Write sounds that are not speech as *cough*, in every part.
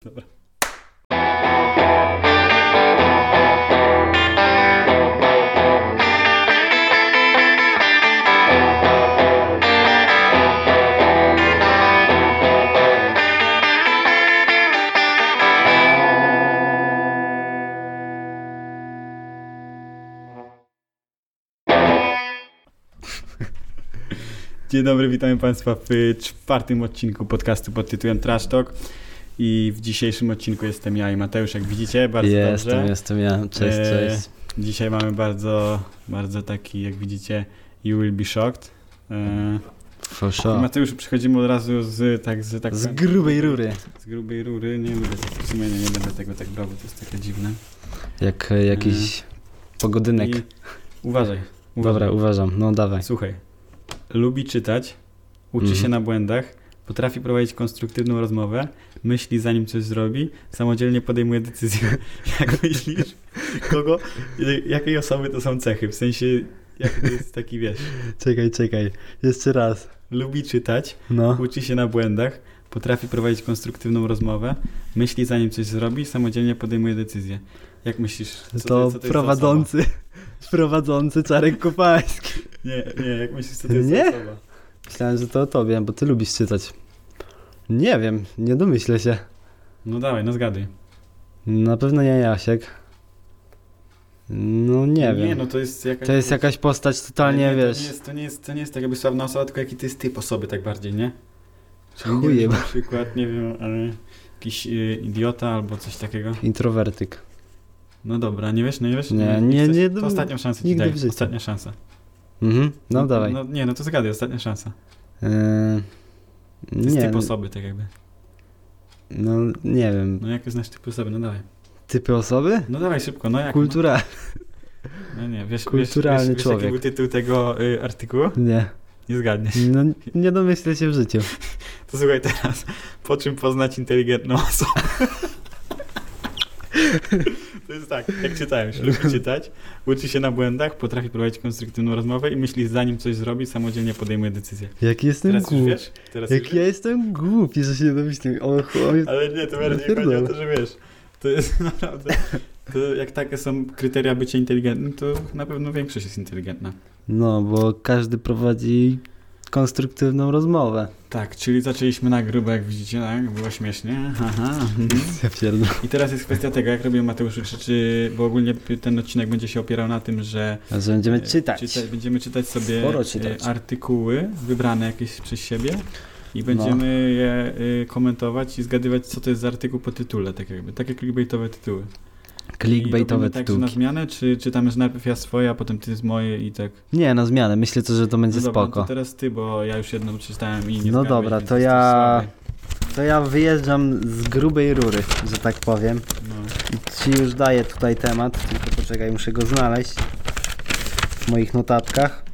Dobra. Dzień dobry, witamy Państwa w y, czwartym odcinku podcastu pod tytułem Trash Talk. I w dzisiejszym odcinku jestem ja i Mateusz, jak widzicie, bardzo jestem, dobrze. jestem ja. Cześć, Eee, cześć. Dzisiaj mamy bardzo, bardzo taki, jak widzicie, you will be shocked. E, For i sure. Mateuszu, przechodzimy od razu z, tak, z, tak, Z grubej rury. z grubej rury. Nie lubię tego, w sumie nie, nie będę tego tak brał, bo to jest takie dziwne. Jak e, jakiś pogodynek. I uważaj. uważaj. Dobra, uważam. No dawaj. Słuchaj, lubi czytać, uczy Mhm. się na błędach, potrafi prowadzić konstruktywną rozmowę, myśli zanim coś zrobi, samodzielnie podejmuje decyzje. *laughs* Jak myślisz, kogo, jakiej osoby to są cechy? W sensie, jak to jest taki, wiesz, Czekaj, czekaj. Jeszcze raz. lubi czytać, No. uczy się na błędach, potrafi prowadzić konstruktywną rozmowę, myśli zanim coś zrobi, samodzielnie podejmuje decyzje. Jak myślisz? co to co jest za prowadzący. *laughs* Prowadzący Czarek Kupański. osoba? Nie, nie, jak myślisz, co to jest Nie? za osoba? Myślałem, że to o tobie, bo ty lubisz czytać. Nie wiem, nie domyślę się. No dawaj, no zgaduj. Na pewno nie Jasiek. No nie Nie, wiem. no to jest jakaś... To jest jakaś postać totalnie, nie, wiesz. To nie, jest, to, nie jest, to nie jest tak jakby sławna osoba, tylko jaki to jest typ osoby tak bardziej, nie? Czyli nie Chuje, wiem, bo- Na przykład, nie wiem, ale jakiś y, idiota albo coś takiego. Introwertyk. No dobra, nie wiesz, no nie wiesz? Nie, nie, chcesz? nie, To dobra. ostatnią szansę ci Nigdy daj, w życiu. ostatnia szansa. Mhm, no, dawaj. No, nie, no to zgadaj, ostatnia szansa. Eee, To jest nie, typ osoby tak jakby. no nie wiem. No jak znasz typ osoby, no dawaj. Typy osoby? No dawaj szybko, no jak? Kultura? No, no nie, wiesz, kulturalny wiesz, wiesz, człowiek. Wiesz, jaki był tytuł tego y, artykułu? Nie. Nie zgadniesz. No nie domyślę się w życiu. To słuchaj teraz, po czym poznać inteligentną osobę? To jest tak, jak czytałem, już lubi czytać, uczy się na błędach, potrafi prowadzić konstruktywną rozmowę i myśli zanim coś zrobi, samodzielnie podejmuje decyzję. Jaki jestem Teraz już głupi. wiesz? Teraz Jak już ja wiesz? jestem głupi, że się nie domyśliłem. O, chuj. Ale nie, to bardziej Pierdolę. chodzi o to, że wiesz, to jest *laughs* naprawdę, to jak takie są kryteria bycia inteligentnym, to na pewno większość jest inteligentna. No, bo każdy prowadzi konstruktywną rozmowę. Tak, czyli zaczęliśmy na grubo, jak widzicie, tak? Było śmiesznie. Aha. mhm. Ja pierdolę. I teraz jest kwestia tego, jak robiłem Mateuszu, czy, czy, bo ogólnie ten odcinek będzie się opierał na tym, że A że będziemy e, czytać. czyta- będziemy czytać sobie Sporo czytać. e, artykuły wybrane jakieś przez siebie i No. będziemy je e, komentować i zgadywać, co to jest za artykuł po tytule, tak jakby, takie clickbaitowe tytuły. I Clickbaitowe robimy tak, że na tytułki. zmianę, czy czytamy, że najpierw ja swoje, a potem ty z moje i tak. Nie, na zmianę. Myślę, to, że to będzie no dobra, spoko. to teraz ty, bo ja już jedną przeczytałem i nie No zgadłeś, dobra, więc to jesteś ja- słaby. To ja wyjeżdżam z grubej rury, że tak powiem. No. Ci już daję tutaj temat, tylko poczekaj, muszę go znaleźć w moich notatkach.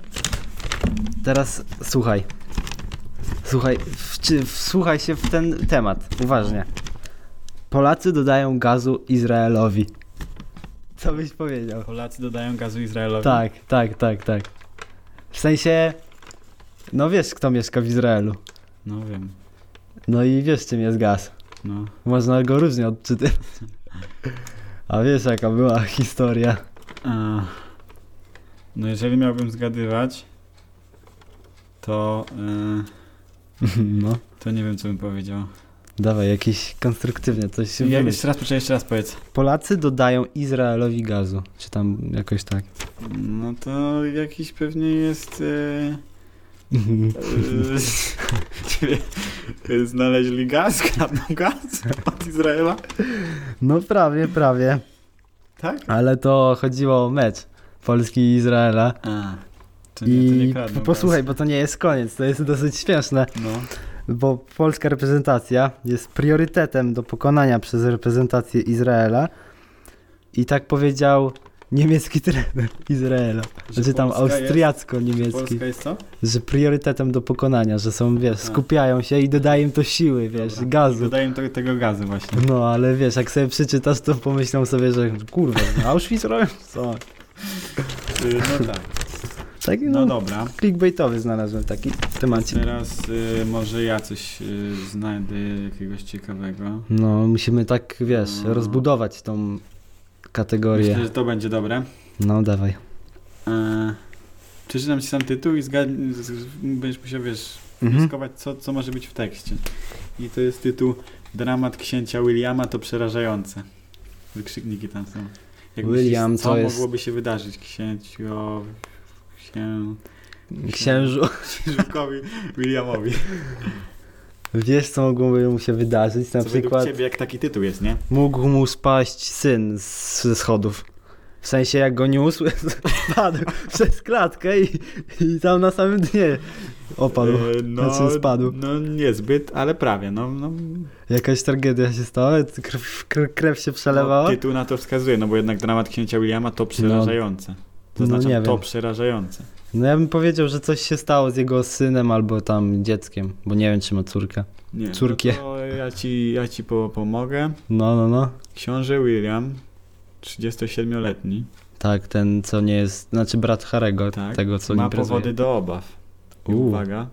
Teraz słuchaj. Słuchaj, w, czy, wsłuchaj się w ten temat, uważnie. Polacy dodają gazu Izraelowi. Co byś powiedział? Polacy dodają gazu Izraelowi. Tak, tak, tak, tak. W sensie, no wiesz kto mieszka w Izraelu. No wiem, No i wiesz czym jest gaz. no. Można go różnie odczytać. A wiesz jaka była *laughs* historia. A, No jeżeli miałbym zgadywać, to, e, *laughs* No. to nie wiem, co bym powiedział. Dawaj, jakieś konstruktywnie coś się Ja, wymyśl. jeszcze raz, poczekaj, jeszcze raz powiedz. Polacy dodają Izraelowi gazu, czy tam *laughs* jakoś tak. No to jakiś pewnie jest... E, e, *laughs* znaleźli gaz, kradną gaz od Izraela, No prawie, prawie. tak? Ale to chodziło o mecz Polski i Izraela. A, to nie, to nie I kradną po- posłuchaj, bo to nie jest koniec, to jest dosyć śmieszne, Gaz. No, bo polska reprezentacja jest priorytetem do pokonania przez reprezentację Izraela. I tak powiedział niemiecki trener Izraela, że znaczy tam Polska jest- austriacko-niemiecki. Polska jest co? że priorytetem do pokonania, że są, wiesz, A. skupiają się i dodają im to siły, wiesz, Tak. Dobra. gazu. Dodaję to, tego gazu właśnie. No, ale wiesz, jak sobie przeczytasz, to no, pomyślą sobie, że kurwa, Auschwitz robią? Co? Y, E, No tak. Taki, no, No dobra. clickbaitowy znalazłem taki w temacie. Teraz y, może ja coś y, znajdę jakiegoś ciekawego. No, musimy tak, wiesz, No. rozbudować tą kategorię. Myślę, że to będzie dobre. No, dawaj. E, przeczytam ci sam tytuł i zgadnij, z- z- będziesz musiał, wiesz, Mhm. wnioskować, co, co może być w tekście. I to jest tytuł Dramat księcia Williama to przerażające. Wykrzykniki tam są. Jak William myślisz, co to jest- mogłoby się wydarzyć księcio... Księ... Mhm. Księżu, Księżukowi *laughs* Williamowi. wiesz co mogłoby mu się wydarzyć? Na co przykład według ciebie, jak taki tytuł jest, nie? mógł mu spaść syn z, ze schodów. W sensie jak go niósł, *laughs* spadł przez klatkę i, i tam na samym dnie opadł. *laughs* E, no, Znaczy spadł. No niezbyt, ale prawie. No, no, Jakaś tragedia się stała, krew, krew, krew się no, przelewała. tytuł na to wskazuje, no bo jednak dramat księcia Williama to przerażające. no Zaznaczam, nie to wiem. przerażające. No ja bym powiedział, że coś się stało z jego synem albo tam dzieckiem, bo nie wiem czy ma córkę. Nie, no Córkie. to ja ci, ja ci po, pomogę. No, no, no. Książę William, 37-letni, Tak, ten co nie jest, znaczy brat Harego, Tak, tego co ma imprezuje. powody do obaw. I Uuu. uwaga,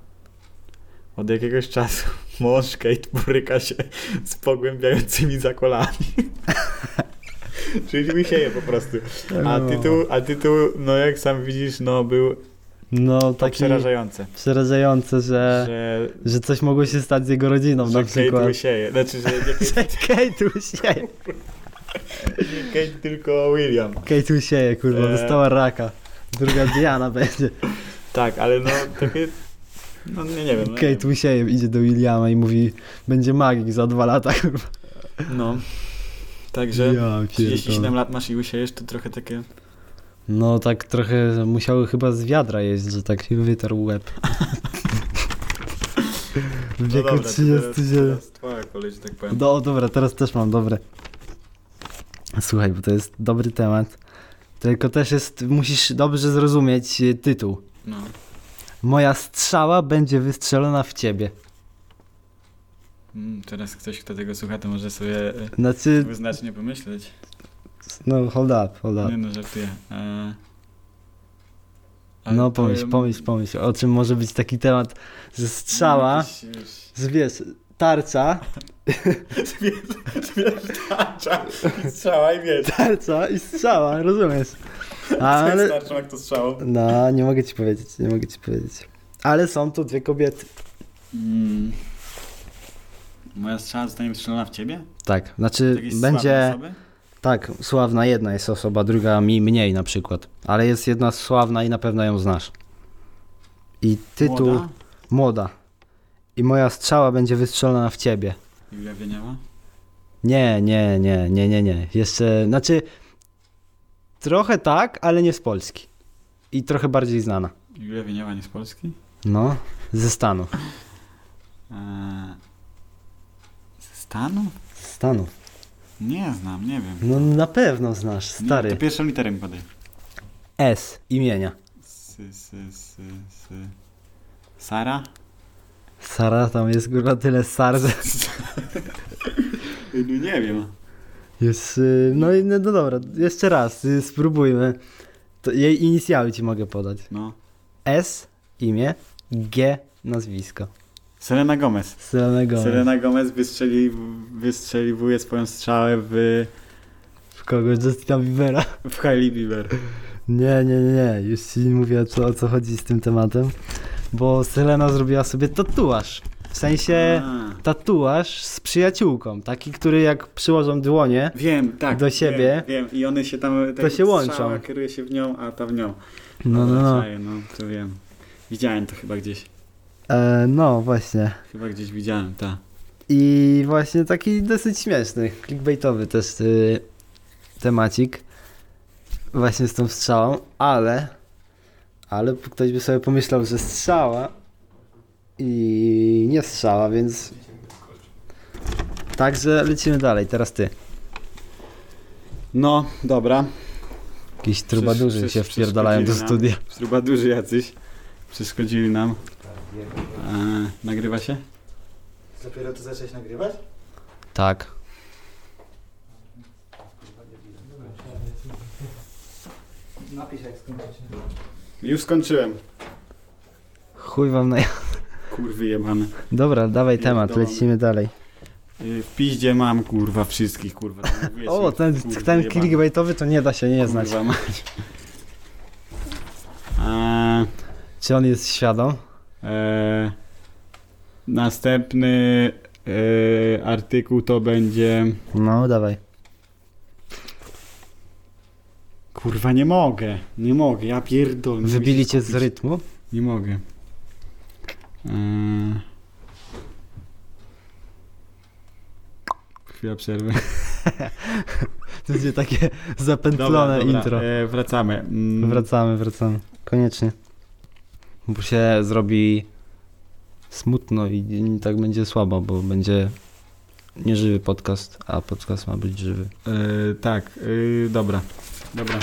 od jakiegoś czasu *laughs* mąż Kate boryka się *laughs* z pogłębiającymi zakolami. *laughs* Czyli misieje po prostu. A No. tytuł, a tytuł, no jak sam widzisz, no był No tak taki przerażający, przerażające, że, że, że coś mogło się stać z jego rodziną że no, na Kate przykład. łysieje. Znaczy, że nie *laughs* Że Kate usieje. Kate, tylko William. Kate usieje, kurwa, E. dostała raka. Druga Diana będzie. Tak, ale no takie, no nie, nie wiem. No, nie Kate usieje, idzie do Williama i mówi, będzie magik za dwa lata, kurwa. wiem. no. Także... Ja 37 pierdolę. lat masz i usiejesz, to trochę takie... No tak trochę musiały chyba z wiadra jeść, że tak się *laughs* wytarł łeb. W wieku No dobra, to 37. Teraz, teraz twoja kolej, że tak powiem. No dobra, teraz też mam dobre. Słuchaj, bo to jest dobry temat. Tylko też jest, musisz dobrze zrozumieć y, tytuł. No. Moja strzała będzie wystrzelona w ciebie. Mm, teraz ktoś, kto tego słucha, to może sobie e, Znaczy, wyznacznie pomyśleć. no hold up, hold Nie up. no, żartuję. E... ale to, no, No pomyśl, em, pomyśl, pomyśl, o czym może być taki temat, że strzała, Jakiś, wiesz, z, wiesz, *laughs* tarcza, wiesz, tarcza i strzała i wiesz. tarcza i strzała, Ale... rozumiesz? Co jest Ale, tarczą, jak to strzałą? no nie mogę ci powiedzieć, nie mogę ci powiedzieć. Ale są to dwie kobiety. Mm. Moja strzała zostanie strzelona w ciebie? Tak, Z znaczy jakiejś słabej będzie... osoby? Tak, sławna jedna jest osoba, druga mi mniej na przykład. Ale jest jedna sławna i na pewno ją znasz. I tytuł Młoda? Młoda. I moja strzała będzie wystrzelona w ciebie. Julia Wieniawa? Nie, nie, nie, nie, nie, nie. Jeszcze, znaczy trochę tak, ale nie z Polski. I trochę bardziej znana. Julia Wieniawa nie z Polski? No, ze Stanów. Eee, Ze Stanów? Z Stanów. Nie znam, nie wiem. No na pewno znasz, Nie, stary. To pierwszą literę mi podaj. S imienia. Sy, sy, sy, sy. Sara? Sara, tam jest kurwa tyle Sar, że No nie wiem. Jest, y, no i no, no dobra, jeszcze raz, y, spróbujmy. To jej inicjały ci mogę podać. No. S, imię, G, nazwisko. Selena Gomez. Selena Gomez. Selena Gomez wystrzeli, wystrzeliwuje swoją strzałę w, W kogoś Justina Biebera. w Hailey Bieber. Nie, nie, nie, nie, już ci mówię o co, o co chodzi z tym tematem. Bo Selena zrobiła sobie tatuaż. W sensie A, tatuaż z przyjaciółką. Taki, który jak przyłożą dłonie, Wiem, tak. Do siebie. Wiem, wiem. i one się tam... tak To się łączą. strzała kieruje się w nią, a ta w nią. no, no, no. Czaję, no, to wiem. Widziałem to chyba gdzieś. E, no właśnie. Chyba gdzieś widziałem, tak. I właśnie taki dosyć śmieszny, clickbaitowy też y, temacik. Właśnie z tą strzałą, ale. Ale ktoś by sobie pomyślał, że strzała i nie strzała, więc. Także lecimy dalej, teraz ty. No, dobra. Jakiś trubadurzy Przesz- się przesz- wpierdalają do przeszkodzili studia. Chyba duży jacyś. Przeszkodzili nam. E, nagrywa się? Dopiero tu zacząłeś nagrywać? Tak. Napisz jak skończysz. Już skończyłem. Chuj wam na... Kurwy jebane. Dobra, dawaj Nie temat, zdolny. lecimy dalej. Y, W piździe mam, kurwa, wszystkich, kurwa. tam mówię, *laughs* O, ten, kurwy ten jebane. clickbaitowy to nie da się nie Kurwa znać. mać. A, Czy on jest świadom? e, następny e, artykuł to będzie... No, dawaj. Kurwa, nie mogę. Nie mogę, ja pierdolę. nie Wybili cię z skupić. rytmu? Nie mogę. Eee... Chwila *laughs* przerwy. To będzie takie *laughs* zapętlone intro. E, wracamy. Mm, Wracamy, wracamy. Koniecznie. Bo się zrobi smutno i i tak będzie słabo, bo będzie nieżywy podcast, a podcast ma być żywy. e, tak, e, dobra. Dobra.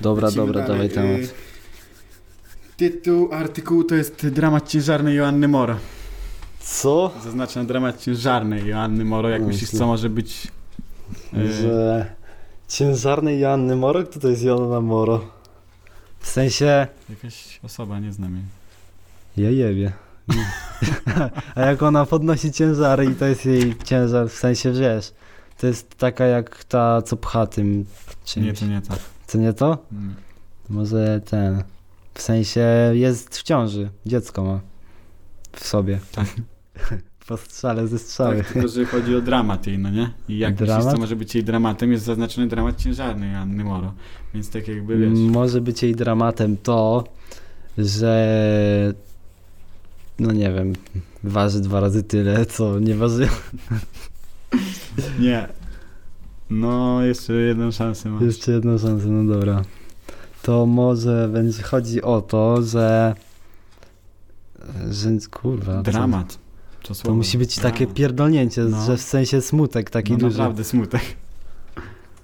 Dobra, Lecimy dobra, dalej. dawaj temat. E, Tytuł artykułu to jest Dramat ciężarny Joanny Moro. Co? Zaznaczam dramat ciężarny Joanny Moro. Jak No, myślisz, jeśli- co może być... e, Że ciężarny Joanny Moro? Kto to jest Joanna Moro? W sensie... Jakaś osoba, nie znam jej. Ja jebie. *laughs* A jak ona podnosi ciężary i to jest jej ciężar, w sensie, wiesz, to jest taka jak ta, co pcha tym czymś. Nie, to nie tak. Co nie to? Mm. Może ten. W sensie jest w ciąży. Dziecko ma. W sobie. Tak. *laughs* Po strzale ze strzały. Tak, tylko że chodzi o dramat jej, no nie? I jak Dramat? myślisz, co może być jej dramatem, jest zaznaczony dramat ciężarny Joanny Moro. Więc tak jakby, wiesz, Może być jej dramatem to, że. No nie wiem, waży dwa razy tyle, co nie waży. nie. No, jeszcze jedną szansę masz. Jeszcze jedną szansę, no dobra. To może będzie chodzi o to, że. że kurwa. to- dramat. To, słowo. To musi być takie Dramat. pierdolnięcie, No. że w sensie smutek taki no, duży. naprawdę smutek.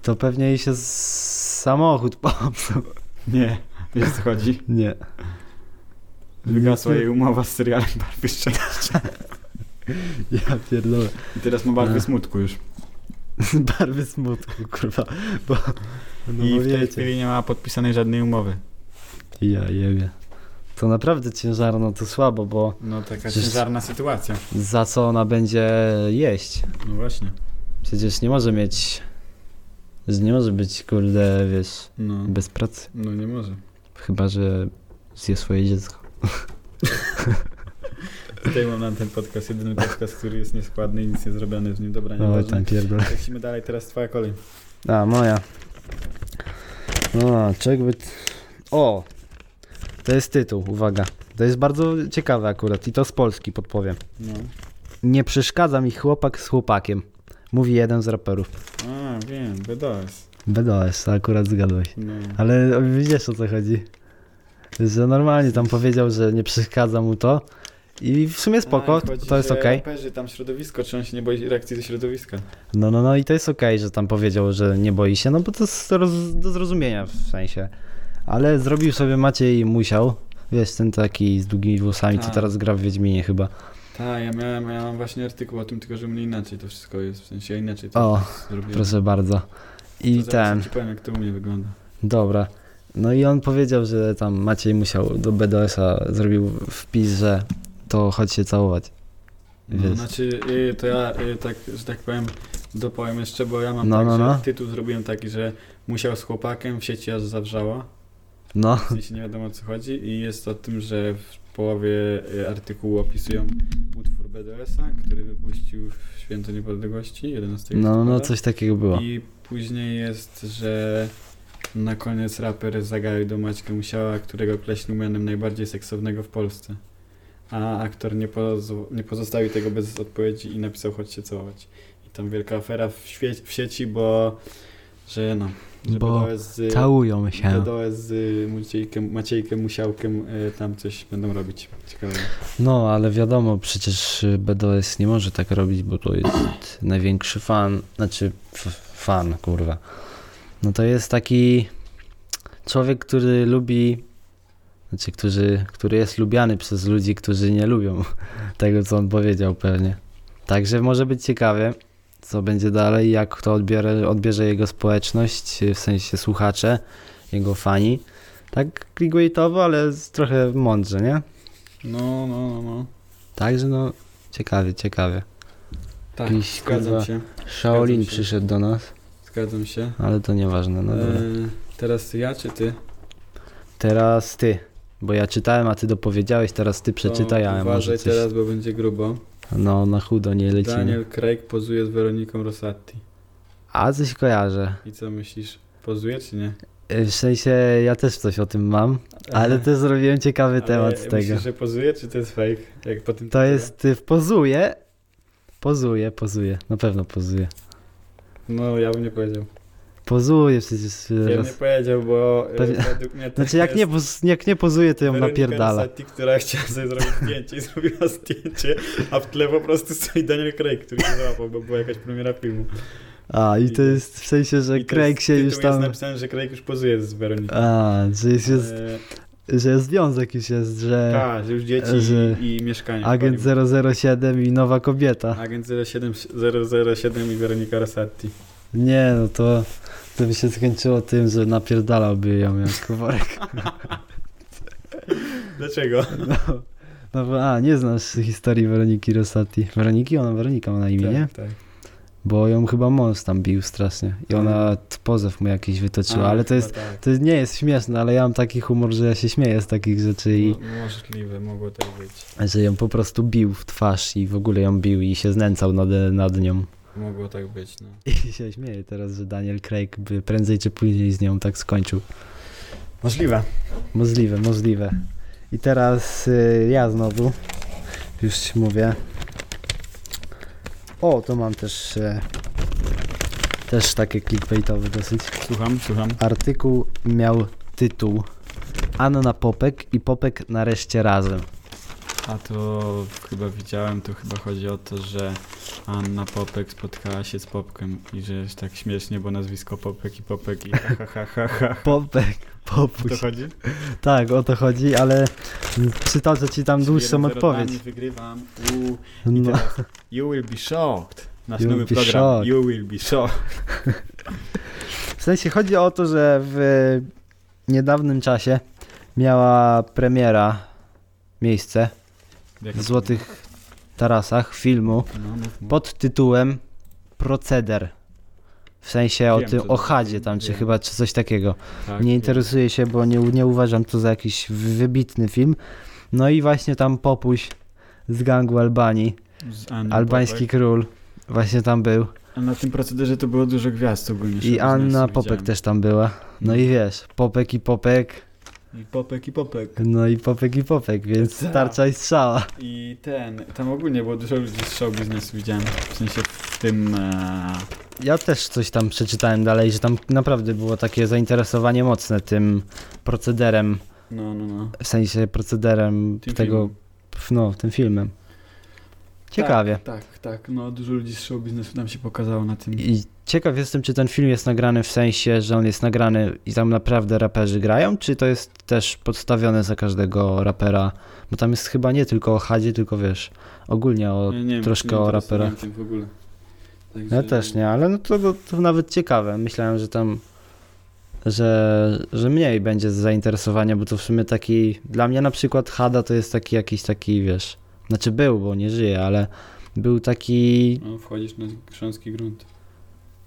To pewnie jej się z- samochód popsuł. *laughs* Nie, wiesz co chodzi? Nie. Wygasła jej umowa z serialem Barwy Szczęścia. Ja pierdolę. *laughs* I teraz ma barwy No. smutku już. Barwy smutku, kurwa. Bo, no I bo w tej wiecie. chwili nie ma podpisanej żadnej umowy. Ja jebie. To naprawdę ciężarno, to słabo, bo No, taka Przecież- ciężarna sytuacja. za co ona będzie jeść? No właśnie. Przecież nie może mieć... Nie może być, kurde, wiesz, No, bez pracy. no nie może. Chyba, że zje swoje dziecko. Tutaj mam na ten podcast, jedyny podcast, który jest nieskładny i nic nie zrobiony, z nim dobra, No nieważne. tam pierdolę. Lecimy dalej, teraz twoja kolej. A, moja. No, czekby... O! To jest tytuł, uwaga. To jest bardzo ciekawe akurat i to z Polski podpowiem. No. Nie przeszkadza mi chłopak z chłopakiem, mówi jeden z raperów. A, wiem, BDOS. BDS, akurat zgadłeś. No. Ale widzisz o co chodzi. Że normalnie tam powiedział, że nie przeszkadza mu to i w sumie No spoko, to jest okej. Raperzy, tam środowisko, czy on się nie boi reakcji ze środowiska? No, no, no i to jest okej, że tam powiedział, że nie boi się, no bo to jest roz, do zrozumienia w sensie. Ale zrobił sobie Maciej Musiał, wiesz, ten taki z długimi włosami, co Tak. teraz gra w Wiedźminie chyba. Tak, ja miałem, ja mam właśnie artykuł o tym, tylko że u mnie inaczej to wszystko jest, w sensie ja inaczej to O, zrobiłem. proszę bardzo. I To zaraz ten... Ci powiem, jak to u mnie wygląda. Dobra. No i on powiedział, że tam Maciej musiał do BDS-a, zrobił wpis, że to chodź się całować. No, Wiesz. znaczy, y, to ja, y, tak, że tak powiem, dopowiem jeszcze, bo ja mam No, tak, no, że no. tytuł zrobiłem taki, że musiał z chłopakiem, w sieci aż zawrzała. No, W sensie nie wiadomo o co chodzi i jest o tym, że w połowie e, artykułu opisują utwór BDS-a, który wypuścił w Święto Niepodległości 11 no, no, listopada. coś takiego było. I później jest, że na koniec raper zagaił do Maćka Musiała, którego określił mianem najbardziej seksownego w Polsce. A aktor nie, pozo- nie pozostawił tego bez odpowiedzi i napisał chodź się całować. I tam wielka afera w, świe- w sieci, bo że no, że Bo BDS z- Całują się. Dodołę z y, Maciejkiem, Maciejkiem Musiałkiem y, tam coś będą robić. Ciekawe. No, ale wiadomo, przecież y, BDS nie może tak robić, bo to jest *clears throat* największy fan, znaczy f- fan, kurwa. No to jest taki człowiek, który lubi, znaczy, który, który jest lubiany przez ludzi, którzy nie lubią *laughs* tego, co on powiedział pewnie. Także może być ciekawie, co będzie dalej, jak to odbierze, odbierze jego społeczność, y, w sensie słuchacze, jego fani. Tak clickbaitowo, ale z- trochę mądrze, nie? No, no, no, no. Także no, ciekawie, ciekawie. Tak, Jakiś, zgadzam kurwa, się. Shaolin Zgadzam się. przyszedł do nas, Zgadzam się. ale to nieważne, no dobra. E, teraz ja czy ty? Teraz ty, bo ja czytałem, a ty dopowiedziałeś, teraz ty przeczytaj, To a ja może No, Uważaj coś... teraz, bo będzie grubo. No, na chudo nie lecimy. Daniel Craig pozuje z Weroniką Rosati. A coś kojarzę. I co myślisz? Pozuje czy nie? Y, W sensie, ja też coś o tym mam, ale też zrobiłem ciekawy temat z tego. Myślisz, że pozuje czy to jest fake? Jak po tym To tytule? jest, y, pozuje, pozuje, pozuje, na pewno pozuje. No, ja bym nie powiedział. Pozuje przecież y, Ja bym nie raz. powiedział, bo e, Pewnie- według *laughs* mnie to Znaczy, jak jest nie, poz, jak nie pozuje, to ją Weronika napierdala. Rosati, która chciała sobie zrobić zdjęcie i *laughs* zrobiła zdjęcie, a w tle po prostu stoi Daniel Craig, który się złapał, bo była jakaś premiera filmu. A, i to jest w sensie, że I to Craig jest- się tytuł już tam... jest napisane, że Craig już pozuje z Weroniką. A, że jest, jest, E, że jest związek już jest, że Tak, że już dzieci e, że i, i mieszkanie. agent w Hollywood. 007 i nowa kobieta. Agent 07, 007 i Weronika Rosati. Nie, no to, to by się skończyło tym, że napierdalałby ją jak worek. Dlaczego? No, no bo, a, nie znasz historii Weroniki Rosati. Weroniki? Ona Weronika ma na imię, nie? Tak, tak. Bo ją chyba mąż tam bił strasznie i ona t- pozew mu jakiś wytoczyła, Tak. A, ale to chyba jest, Tak. to nie jest śmieszne, ale ja mam taki humor, że ja się śmieję z takich rzeczy i Mo- Możliwe, mogło tak być. że ją po prostu bił w twarz i w ogóle ją bił i się znęcał nad, nad nią. Mogło tak być, no. I *laughs* się śmieję teraz, że Daniel Craig by prędzej czy później z nią tak skończył. Możliwe. Możliwe, możliwe. I teraz y, ja znowu. Już ci mówię. O, to mam też. Y, też takie clickbaitowy dosyć. Słucham, słucham. Artykuł miał tytuł Anna Popek i Popek nareszcie razem. A to chyba widziałem, to chyba chodzi o to, że Anna Popek spotkała się z Popkiem i że jest tak śmiesznie, bo nazwisko Popek i Popek i ha ha ha ha ha. Popek, O to Popuś. chodzi? Tak, o to chodzi, ale mm, przytoczę ci tam dłuższą 1-0 odpowiedź. dla mnie Wygrywam. Uuu. I No, teraz You will be shocked. Nasz You will nowy be program. shocked. You will be shocked. w sensie chodzi o to, że w y, niedawnym czasie miała premiera miejsce Jak w Złotych Tarasach filmu No, mów, mów. pod tytułem Proceder. W sensie o Wiem, tym co to- ochadzie tam, czy wiem. chyba, czy coś takiego. Tak, Nie wiem. interesuję się, bo nie, nie uważam to za jakiś wybitny film. No i właśnie tam Popuś z gangu Mm, Albanii, Z Anną albański Popek. król, właśnie tam był. A na tym procederze to było dużo gwiazd ogólnie. I showbiznesu, Anna Popek widziałem. też tam była. No Mm. i wiesz, Popek i Popek, I Popek i Popek. no i Popek i Popek, więc Tak. tarcza i strzała. I ten, tam ogólnie było dużo ludzi z show biznesu widziałem. W sensie w tym... E... Ja też coś tam przeczytałem dalej, że tam naprawdę było takie zainteresowanie mocne tym procederem, No, no, no. w sensie procederem Tym tego, filmem. no, tym filmem. Ciekawie. Tak, tak, no dużo ludzi z show biznesu nam się pokazało na tym. I ciekaw jestem, czy ten film jest nagrany w sensie, że on jest nagrany i tam naprawdę raperzy grają, czy to jest też podstawione za każdego rapera, bo tam jest chyba nie tylko o Hadzie, tylko wiesz, ogólnie o... Ja nie wiem, troszkę nie o interesowałem raperach. tym w ogóle. Także- Ja też nie, ale no to, to, to nawet ciekawe. Myślałem, że tam, że, że mniej będzie zainteresowania, bo to w sumie taki, dla mnie na przykład Hada to jest taki jakiś taki, wiesz, znaczy był, bo nie żyje, ale był taki, No, wchodzisz na grząski grunt.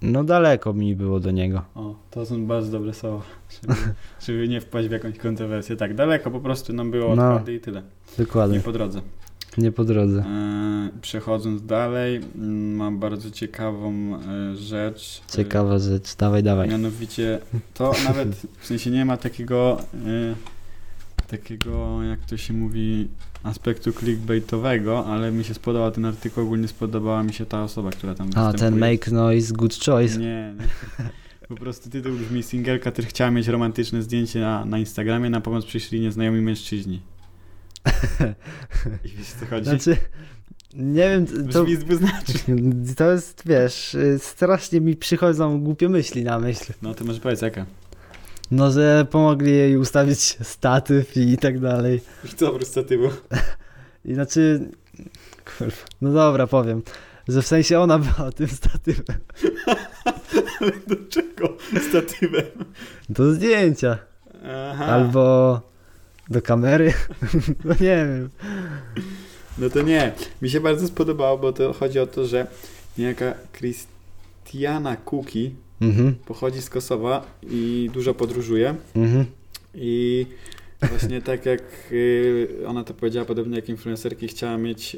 no daleko mi było do niego. O, to są bardzo dobre słowa, żeby, *laughs* żeby nie wpaść w jakąś kontrowersję. Tak, daleko po prostu nam było od No. Hardy i tyle. Nie Dokładnie, po drodze. nie po drodze. E, przechodząc dalej, mm, mam bardzo ciekawą e, rzecz. E, Ciekawa rzecz, dawaj, dawaj. Mianowicie *laughs* to nawet w sensie nie ma takiego e, takiego, jak to się mówi, aspektu clickbaitowego, ale mi się spodobał ten artykuł, ogólnie spodobała mi się ta osoba, która tam A, występuje. ten make noise, good choice. Nie, nie. Po prostu tytuł brzmi singelka, która chciała mieć romantyczne zdjęcie na, na Instagramie, na pomoc przyszli nieznajomi *laughs* mężczyźni. I wiesz co chodzi? Znaczy, nie wiem, to... brzmi dwuznacznie. *laughs* To jest, wiesz, y, strasznie mi przychodzą głupie myśli na myśl. No to może powiedz *laughs* jaka. No, że pomogli jej ustawić statyw i tak dalej. Już co, po prostu *laughs* typu. I znaczy, kurwa, no dobra, powiem, że w sensie ona była tym statywem. Ale do czego? Statywem. Do zdjęcia. Aha. albo do kamery. *laughs* no nie wiem. No to nie. Mi się bardzo spodobało, bo to chodzi o to, że niejaka Christiana Kuki Mhm, pochodzi z Kosowa i dużo podróżuje. mhm. I właśnie tak jak y, ona to powiedziała, podobnie jak influencerki, chciała mieć. y,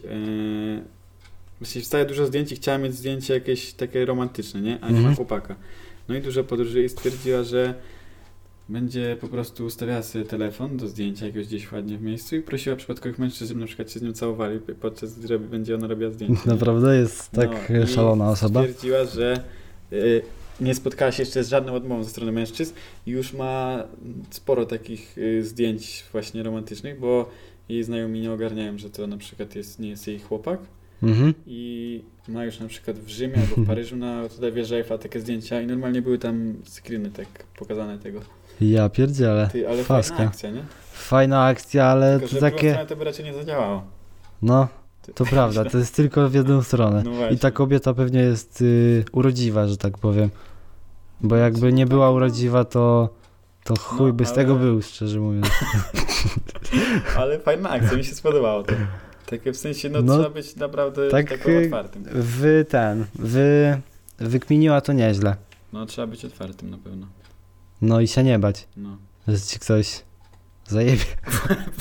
Właśnie wstaje dużo zdjęć i chciała mieć zdjęcie jakieś takie romantyczne, nie? A nie ma Mhm. chłopaka. No i dużo podróżuje i stwierdziła, że będzie po prostu ustawiała sobie telefon do zdjęcia jakiegoś gdzieś ładnie w miejscu i prosiła przypadkowych mężczyzn, żeby na przykład się z nią całowali, podczas gdy będzie ona robiła *laughs* zdjęcie. nie? Naprawdę jest tak No, i szalona osoba. Stwierdziła, że y, nie spotkała się jeszcze z żadną odmową ze strony mężczyzn i już ma sporo takich y, zdjęć właśnie romantycznych, bo jej znajomi nie ogarniają, że to na przykład jest, nie jest jej chłopak Mhm. i ma już na przykład w Rzymie *laughs* albo w Paryżu na tutaj wieży Eiffla takie zdjęcia i normalnie były tam screeny tak pokazane tego. Ja pierdzielę. Ty, ale fajna Faska. akcja, nie? Fajna akcja, ale Tylko, że to w drugą takie. stronę to by raczej nie zadziałało. No, Ty- to prawda, to jest tylko w jedną stronę. No właśnie. E, I ta kobieta pewnie jest y, urodziwa, że tak powiem. Bo jakby nie była urodziwa, to, to chuj No, by z tego ale- był, szczerze mówiąc. Ale fajna akcja, mi się spodobało to. Takie w sensie, no, No, trzeba być naprawdę tak, tak, y, otwartym. Wy ten, wy wykminiła to nieźle. No trzeba być otwartym na pewno. No i się nie bać, No. że ci ktoś zajebie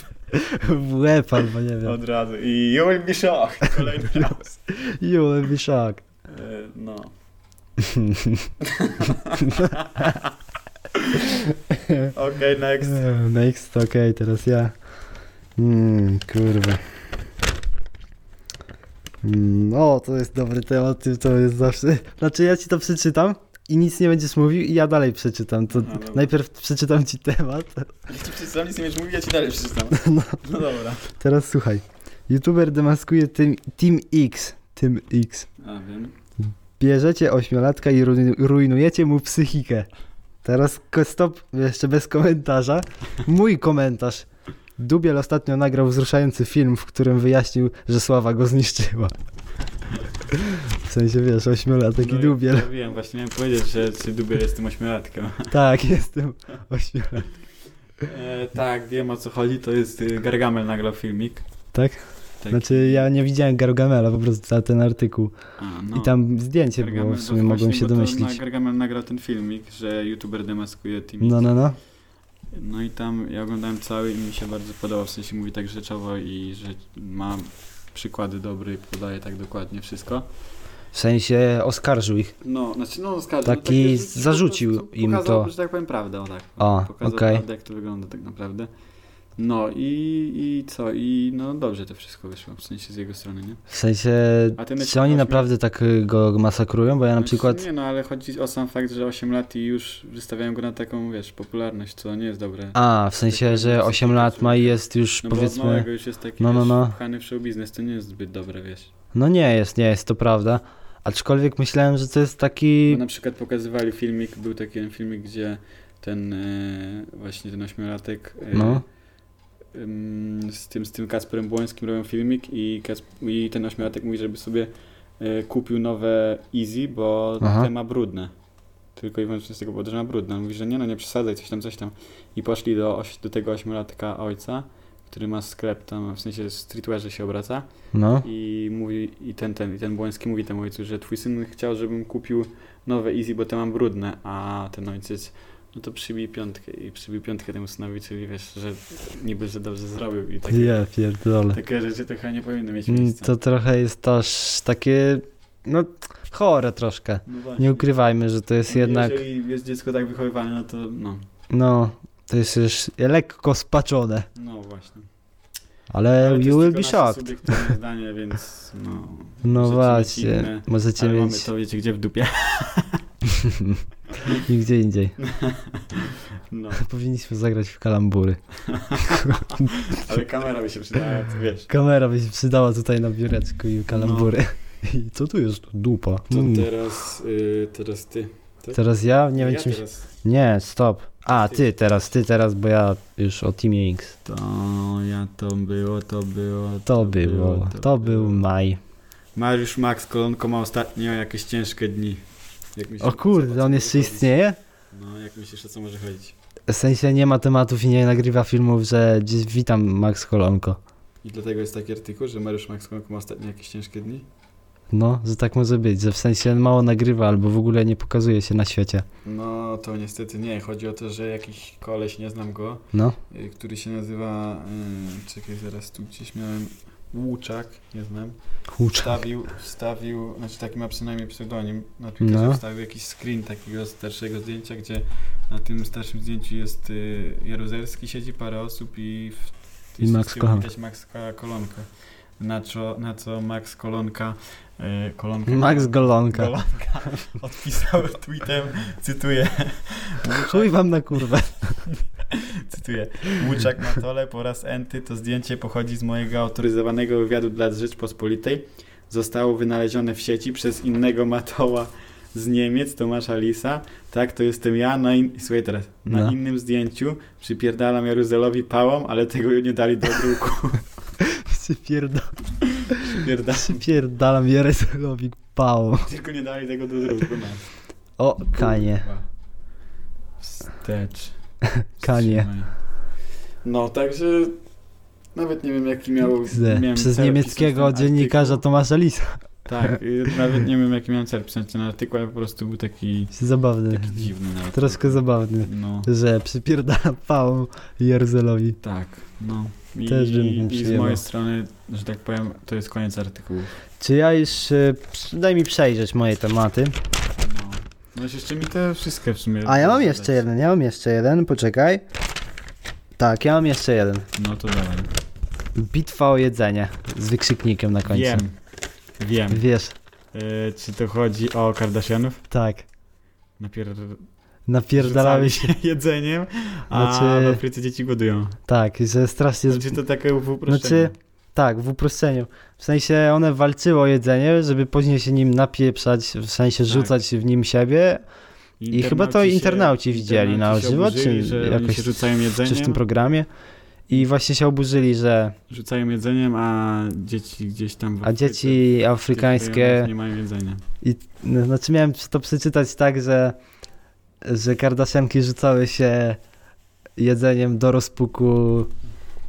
*laughs* w łeb albo nie wiem. Od razu. I you will be shocked. Tak. *laughs* Kolejny raz. You will be shocked. E, *laughs* No. Okej, *laughs* next. Eee, Next, okej, teraz ja. Mm, kurwa. Mm, o, to jest dobry temat, ty to jest zawsze. Znaczy ja ci to przeczytam i nic nie będziesz mówił i ja dalej przeczytam. To Aha, dobra. najpierw przeczytam ci temat. Ja ci przeczytam, nic nie będziesz mówił, ja ci dalej przeczytam. *laughs* No dobra. Teraz słuchaj. YouTuber demaskuje Team, team X. Team X. A wiem. Bierzecie ośmiolatka i ruinu- rujnujecie mu psychikę. Teraz ko- stop, jeszcze bez komentarza. Mój komentarz. Dubiel ostatnio nagrał wzruszający film, w którym wyjaśnił, że sława go zniszczyła. W sensie, wiesz, ośmiolatek no, i Dubiel. Ja wiem, właśnie miałem powiedzieć, że czy dubiel jest tym ośmiolatkiem. Tak, jestem ośmiolatek. E, tak, wiem o co chodzi, to jest y, Gargamel nagrał filmik. Tak? Tak. Znaczy, ja nie widziałem Gargamela, po prostu za ten artykuł. A, no. I tam zdjęcie było, w to sumie mogłem właśnie, się bo to domyślić. Na Gargamel nagrał ten filmik, że youtuber demaskuje Team No, no, no. No i tam ja oglądałem cały i mi się bardzo podobał, w sensie mówi tak rzeczowo i że ma przykłady dobre i podaje tak dokładnie wszystko. W sensie, oskarżył ich. No, znaczy no skarży, Taki no, takie rzucił, zarzucił po prostu im pokazał, to. że tak powiem prawdę, o tak. O, Pokazał okej. prawdę, jak to wygląda tak naprawdę. No i, i co, i no dobrze to wszystko wyszło, w sensie z jego strony, nie? W sensie, A ten czy oni ośmiu- naprawdę tak y, go masakrują? Bo ja na Znaczy, przykład... Nie no, ale chodzi o sam fakt, że 8 lat i już wystawiają go na taką, wiesz, popularność, co nie jest dobre. A, w sensie, że 8 lat ma i jest już, Tak, no bo od powiedzmy... małego już jest taki no, no, wiesz, no. wpchany w show biznes, to nie jest zbyt dobre, wiesz. No nie jest, nie jest, to prawda. Aczkolwiek myślałem, że to jest Bo taki... na przykład pokazywali filmik, był taki jeden filmik, gdzie ten e, właśnie ten ośmiolatek e, No. em, z, tym, z tym Kasperem Błońskim robią filmik i, Kasp- i ten ośmiolatek mówi, żeby sobie e, kupił nowe Easy, bo Aha. te ma brudne. Tylko i wyłącznie z tego powodu, że ma brudne. On mówi, że nie no, nie przesadzaj, coś tam, coś tam. I poszli do, oś- do tego ośmiolatka ojca, który ma sklep tam, w sensie streetwearze się obraca. No, I mówi, i ten, ten, i ten Błoński mówi temu ojcu, że twój syn chciał, żebym kupił nowe Easy, bo te mam brudne, a ten ojciec, no to przybij piątkę i przybij piątkę temu synowi, czyli wiesz, że niby, że dobrze zrobił i takie, ja pierdolę. takie rzeczy to chyba nie powinny mieć Mm, miejsca. To trochę jest też takie... No, chore troszkę. No właśnie. Nie ukrywajmy, że to jest jednak... No, Jeżeli jest dziecko tak wychowywane, no to no, No, to jest już lekko spaczone. no właśnie. Ale Ale to E, you will jest be tylko nasze shocked. subiektywne zdanie, więc no... No możecie mieć właśnie, inne, możecie Ale mamy mieć to, wiecie, gdzie w dupie. nigdzie indziej. *laughs* No, *laughs* Powinniśmy zagrać w kalambury. ale kamera by się przydała, to tak, wiesz. Kamera by się przydała tutaj na biureczku i kalambury. No. *laughs* I co tu jest? Dupa. To Mm. teraz, y, teraz ty. Teraz ja? Nie wiem, ja czy mi się... teraz. Nie, stop. A, Ty. ty teraz, ty teraz, bo ja już o Teamie X. To ja to było, to było. To było, to był maj. Mariusz Max, kolonko ma ostatnio jakieś ciężkie dni. Jak mi się O kurde, podoba, on co jeszcze robić. istnieje? No, jak myślisz, o co może chodzić? W sensie nie ma tematów i nie nagrywa filmów, że dziś witam Max Kolonko. I dlatego jest taki artykuł, że Mariusz Max Konk ma ostatnio jakieś ciężkie dni? No, że tak może być, że w sensie mało nagrywa albo w ogóle nie pokazuje się na świecie. No, to niestety nie. Chodzi o to, że jakiś koleś, nie znam go, No, y, który się nazywa... y, czekaj, zaraz tu gdzieś miałem... Łuczak, nie znam. hucza. Wstawił, wstawił, znaczy taki ma przynajmniej pseudonim, na Twitterze No. wstawił jakiś screen takiego starszego zdjęcia, gdzie na tym starszym zdjęciu jest y, Jaruzelski, siedzi parę osób i w I Max wszystkim Kolanka. widać Max Ko- Kolonka. Na co, na co Max Kolonka, y, Kolonka Max Golonka. Golonka *laughs* odpisał tweetem, cytuję, Chuj wam na kurwę. cytuję, Łuczak na tole po raz enty, to zdjęcie pochodzi z mojego autoryzowanego wywiadu dla Rzeczpospolitej. Zostało wynalezione w sieci przez innego Matoła z Niemiec, Tomasza Lisa. Tak, to jestem ja na, in... Słuchaj teraz. na No. innym zdjęciu. Przypierdalam Jaruzelowi pałą, ale tego nie dali do druku. Przypierda- Przypierdalam, Przypierdalam Jerezelowi pało. tylko nie dali tego do druku. No. O, kanie. Kurwa. Wstecz. *laughs* Kanie. Wstrzymaj. No, także nawet nie wiem, jaki miał... Zde. miałem Przez cel niemieckiego pisać ten dziennikarza artykuł. Tomasza Lisa. Tak, y, *laughs* nawet nie wiem, jaki miałem cel pisać ten artykuł, ale po prostu był taki, Zabawny. taki dziwny nawet. Troszkę zabawny. No, Że przypierdalam pało Jerezelowi. tak, no. I, Też bym i, i z przyjemał. mojej strony, że tak powiem, to jest koniec artykułu. Czy ja już... e, Daj mi przejrzeć moje tematy. No. No jeszcze mi te wszystkie w sumie... A ja mam zadać. jeszcze jeden, ja mam jeszcze jeden, poczekaj. Tak, ja mam jeszcze jeden. No to dawaj. Bitwa o jedzenie z wykrzyknikiem na końcu. Wiem, wiem. Wiesz, Y, czy to chodzi o Kardashianów? tak. Napier... Napierdalamy się. rzucali *laughs* jedzeniem, a Znaczy- w Afryce dzieci głodują. Tak, że strasznie. Znaczy to takie uproszczenie. Znaczy, tak, w uproszczeniu. W sensie one walczyły o jedzenie, żeby później się nim napieprzać, w sensie Tak. rzucać w nim siebie. I chyba to Internauci się- internauci widzieli na internauci się żywo, czy oburzyli, że oni jakoś się rzucają jedzeniem, Czy w tym programie. I właśnie się oburzyli, że. rzucają jedzeniem, a dzieci gdzieś tam w A Afryce, gdzieś dzieci afrykańskie. nie mają jedzenia. No, znaczy miałem to przeczytać tak, że, że Kardashianki rzucały się jedzeniem do rozpuku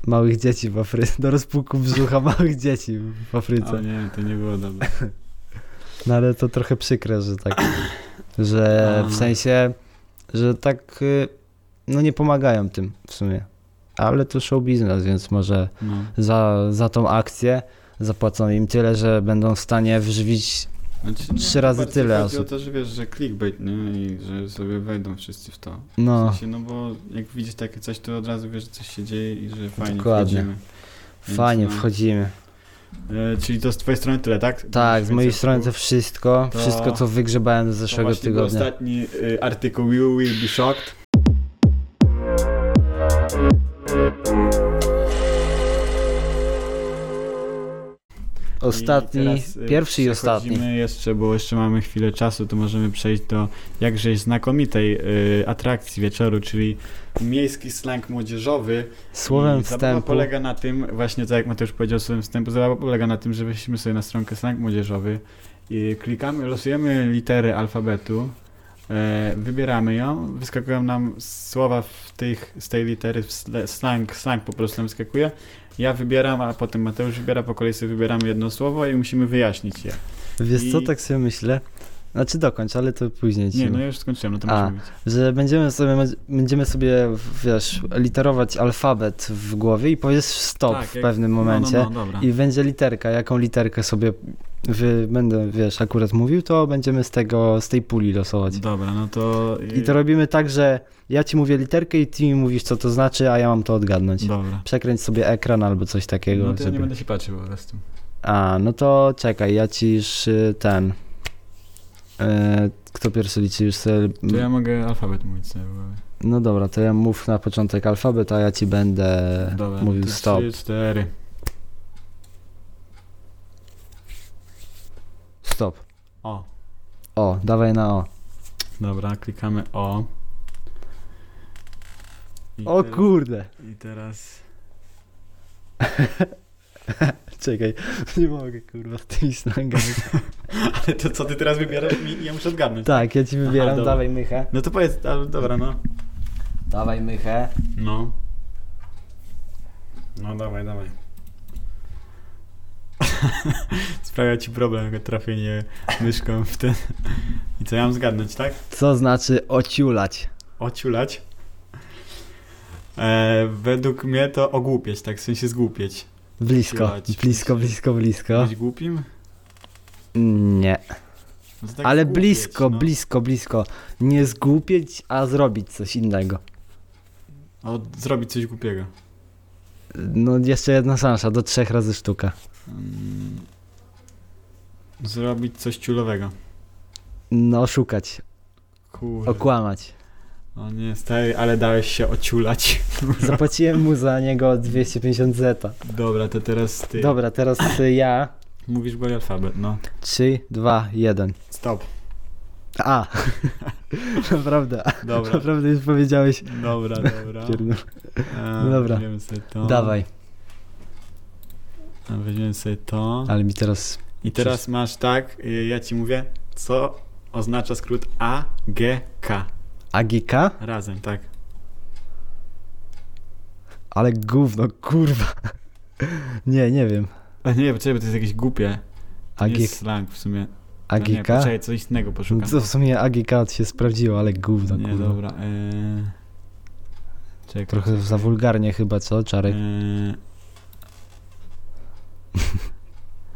małych dzieci w Afryce, do rozpuku brzucha małych dzieci w O Afryce. nie, to nie było dobre. No ale to trochę przykre, że tak, *clears throat* że w A. sensie, że tak, y, no nie pomagają tym w sumie. Ale to show biznes, więc może No. za, za tą akcję zapłacą im tyle, że będą w stanie wżywić Znaczy, nie, Trzy to razy bardziej tyle Chodzi osób. o to, że wiesz, że clickbait, nie? I że sobie wejdą wszyscy w to. W no, sensie, no bo jak widzisz takie coś, to od razu wiesz, że coś się dzieje i że fajnie Dokładnie. wchodzimy. Więc fajnie, no. wchodzimy. E, czyli to z twojej strony tyle, tak? Tak, z Więcej mojej strony to artykułów. wszystko. To- Wszystko, co wygrzebałem z To zeszłego właśnie był tygodnia. ostatni y, artykuł You Will Be Shocked. Ostatni, teraz, y, pierwszy i ostatni. przechodzimy jeszcze, bo jeszcze mamy chwilę czasu, to możemy przejść do jakże znakomitej y, atrakcji wieczoru, czyli miejski slang młodzieżowy. Słowem I zabawa wstępu. polega na tym, właśnie tak jak Mateusz powiedział, słowem wstępu, zabawa polega na tym, że weźmy sobie na stronkę slang młodzieżowy i klikamy, losujemy litery alfabetu, e, wybieramy ją, wyskakują nam słowa w tych, z tej litery, w sle- slang, slang po prostu nam wyskakuje. Ja wybieram, a potem Mateusz wybiera, po kolei sobie wybieramy jedno słowo i musimy wyjaśnić je. Wiesz co, i- tak sobie myślę. Znaczy dokończ, ale to później ci. Nie, no ja już skończyłem, no to A. muszę mówić. Że będziemy sobie, będziemy sobie, wiesz, literować alfabet w głowie i powiesz stop Tak, w jak- pewnym momencie. No, no, no, dobra. I będzie literka. Jaką literkę sobie wy, będę, wiesz, akurat mówił, to będziemy z tego, z tej puli losować. Dobra, no to... I to robimy tak, że ja ci mówię literkę i ty mi mówisz, co to znaczy, a ja mam to odgadnąć. Dobra. Przekręć sobie ekran albo coś takiego. No to ja żeby... nie będę się patrzył po prostu. A, no to czekaj, ja ci już y, ten. E, kto pierwszy liczy już sobie. To ja mogę alfabet mówić sobie. bo- No dobra, to ja mów na początek alfabet, a ja ci będę Dobra, mówił to E, stop. Trzy, cztery. Stop. O, O, dawaj na O. dobra, klikamy O. I O teraz- kurde! I teraz... *laughs* *laughs* Czekaj, nie mogę kurwa z tymi slangami. Ale to co ty teraz wybierasz, mi, ja muszę odgadnąć. Tak, ja ci wybieram, dobra. dawaj mychę. No to powiedz, a, dobra, no. Dawaj mychę. No. No dawaj, dawaj. *laughs* Sprawia ci problem jak trafienie myszką w ten... *laughs* I co, ja mam zgadnąć, tak? Co znaczy ociulać? Ociulać. E, według mnie to ogłupieć, tak? W sensie zgłupieć. Blisko, Ociulać. blisko, blisko, blisko. Być głupim? Nie. No to tak Ale zgłupieć, blisko, no. blisko, blisko. Nie zgłupieć, a zrobić coś innego. O, zrobić coś głupiego. No jeszcze jedna szansa, do trzech razy sztuka. Mm. Zrobić coś ciulowego. No oszukać, Kurde. okłamać. O nie, stary, ale dałeś się ociulać. Zapłaciłem mu za niego 250 zeta. Dobra, to teraz ty. Dobra, teraz y, ja. Mówisz głupi alfabet, no. 3, 2, 1. Stop. *laughs* A! Naprawdę, *laughs* Dobra, naprawdę już powiedziałeś. dobra, dobra. Pierdol. A, Dobra. Weźmiemy sobie to. Dawaj, A, Weźmiemy sobie to. ale mi teraz I teraz masz tak, y, ja ci mówię, co oznacza skrót AGK. Agika? Razem, tak. Ale gówno, kurwa. Nie, nie wiem. A nie, poczekaj, bo to jest jakieś głupie. To nie Agi, jest slang w sumie. No nie, agika? poczekaj, coś innego No poszukam. to w sumie agika się sprawdziło, ale gówno, nie, kurwa. dobra. y, Czekaj. E, Trochę za wulgarnie chyba, co, Czarek? Y, *laughs*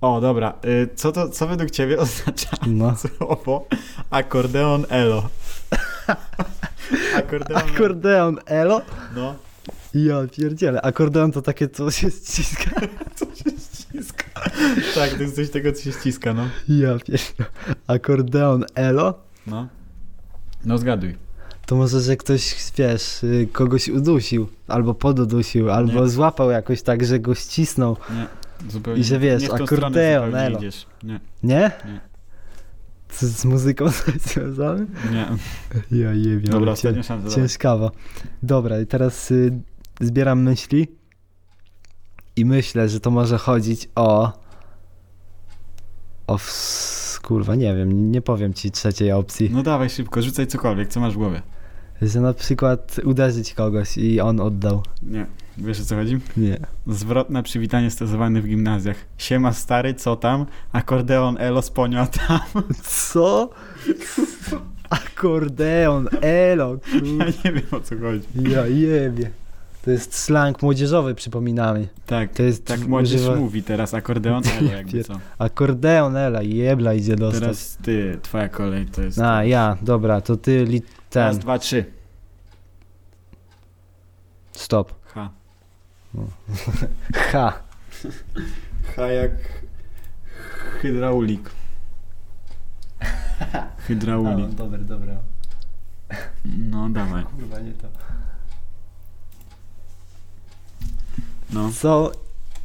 O, dobra. y, Co to, co według ciebie *laughs* oznacza No. słowo akordeon *laughs* elo. Akordeon. Akordeon, elo? No, Ja pierdzielę, akordeon to takie, co się ściska. ściska. Tak, to jest coś tego, co się ściska, no. Ja pierdzielę. Akordeon, elo? No, no zgaduj. To może, że ktoś, wiesz, y, kogoś udusił, albo podudusił, albo Nie. złapał jakoś tak, że go ścisnął, Zupełnie. I że wiesz, nie w tą akordeon stronę zupełnie elo. Idziesz. Nie, nie? Nie. Z, z muzyką *laughs* związany? *laughs* nie. Ja je wiem. Dobra, ostatnia szansa. dawaj. Ciężkawa. Dobra, i teraz y, zbieram myśli i myślę, że to może chodzić o... O... ws- Kurwa, nie wiem, nie powiem ci trzeciej opcji. No dawaj szybko, rzucaj cokolwiek, co masz w głowie. Że na przykład uderzyć kogoś i on oddał. Nie, wiesz o co chodzi? Nie. Zwrotne przywitanie stosowane w gimnazjach. Siema stary, co tam? Akordeon elo sponio tam. *laughs* Co? Akordeon, elo, Ja kurwa. nie wiem o co chodzi. Ja jebie. To jest slang młodzieżowy, przypominamy. Tak, To jest... tak młodzież używa- mówi teraz, akordeon elo *laughs* Ja jakby pier- co. Akordeon, ela, jebla idzie dostać. Teraz ty, twoja kolej to jest. A, ja, dobra, to ty li... Raz, ten... dwa, trzy. Stop. H. Ha. H jak hydraulik. Hydraulik. dobra, dobra. No dawaj. Kurwa, nie to. No. Co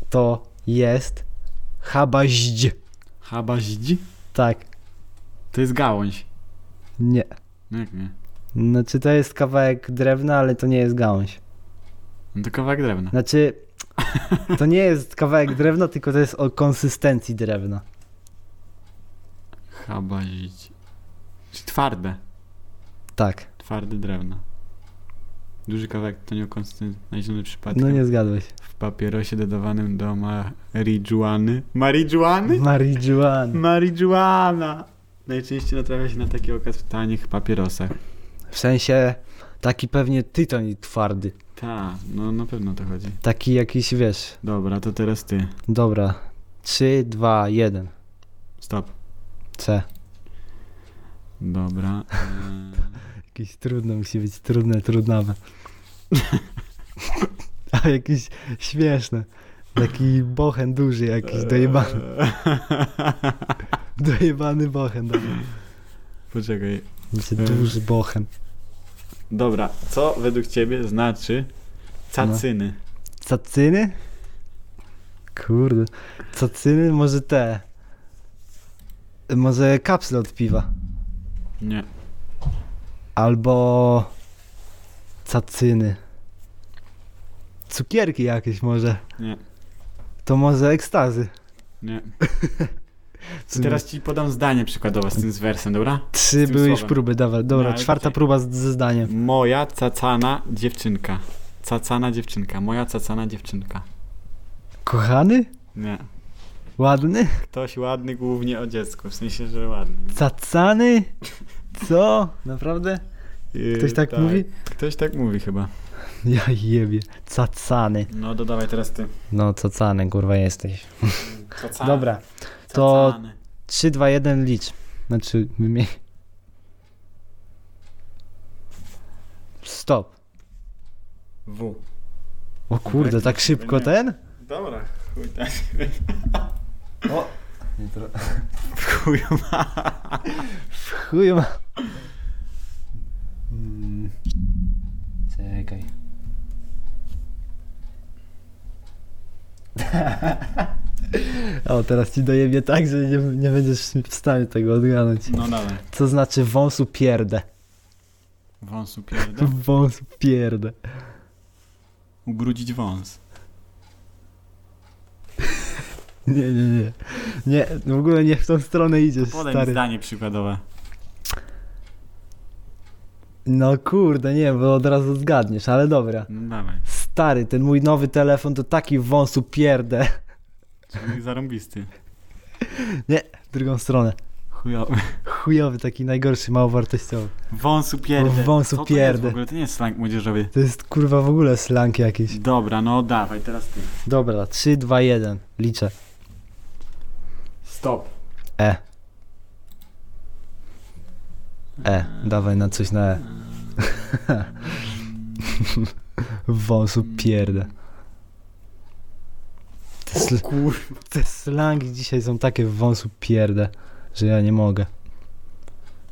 to jest habaźdź? Habaździ? Tak, To jest gałąź. nie. No jak nie? Znaczy to jest kawałek drewna, ale to nie jest gałąź. No to kawałek drewna. Znaczy, to nie jest kawałek drewna, tylko to jest o konsystencji drewna. Habaździ. Czyli twarde. Tak, Twarde drewno. Duży kawałek to nieokonsystentny, znaleziony przypadkiem. no nie zgadłeś. W papierosie dodawanym do marijuany. No. Marijuany? Marijuana. Marijuana! Najczęściej natrafia się na taki okaz w tanich papierosach. W sensie, taki pewnie tytoń twardy. Ta, no na pewno o to chodzi. Taki jakiś, wiesz, Dobra, to teraz ty. dobra. 3, 2, 1. Stop. C. Dobra. Eee, Jakieś trudne, musi być trudne, trudnawe. *laughs* A jakieś śmieszne. Taki bochen duży *laughs* e, jakiś, dojebany, dojebany bochen. Dobra. *laughs* Poczekaj. Będzie duży bochen. Dobra, co według ciebie znaczy cacyny? Cacyny? Kurde. Cacyny? Może te. Może kapsle od piwa. No. Nie. Albo... Cacyny. Cukierki jakieś może. Nie. *laughs* To może ekstazy. Nie. To teraz ci podam zdanie przykładowe z tym z wersem, dobra? Trzy tym były już słowem. próby, dawaj, dobra, No, ale czwarta czekaj. próba z, ze zdaniem. Moja cacana dziewczynka. Cacana dziewczynka. Moja cacana dziewczynka. Kochany? Nie. Ładny? Ktoś ładny głównie o dziecku, w sensie, że ładny. Cacany? Co? Naprawdę? Yy, Ktoś tak mówi? Ktoś tak mówi chyba. Ja jebie. Cacany. No dodawaj teraz ty. No, cacany, kurwa, jesteś. Cacana. Dobra, to- 3, 2, 1, licz. Znaczy, wymień. Stop. W. O kurde, tak szybko ten? Dobra, chuj tak. O! Chuj ma. W chuju ma. Mm. Czekaj. O, teraz ci dojebie tak, że nie, nie będziesz w stanie tego odgadnąć. No dawaj. Co znaczy wąsu pierdę? Wąsu No. pierdę. Wąsu pierdę. Ubrudzić wąs. Nie, nie, nie. Nie, w ogóle nie w tą stronę idziesz, Podaj mi stary. zdanie przykładowe. No kurde, nie, bo od razu zgadniesz, ale dobra. No dawaj. Stary, ten mój nowy telefon to taki wąsu pierdę. Czyli zarąbisty. Drugą stronę. Chujowy. Chujowy, taki najgorszy, małowartościowy. Wąsu pierdę. Wąsu Co To, jest w pierdę. ogóle? to nie jest slang młodzieżowy. To jest kurwa w ogóle slang jakiś. Dobra, no dawaj, teraz *laughs* ty. Dobra, 3, 2, 1. Liczę. Stop. E. E, dawaj na coś na E. Wąsu Mm. pierdę. Te, sl- te slangi dzisiaj są takie w wąsu pierdę, że ja nie mogę.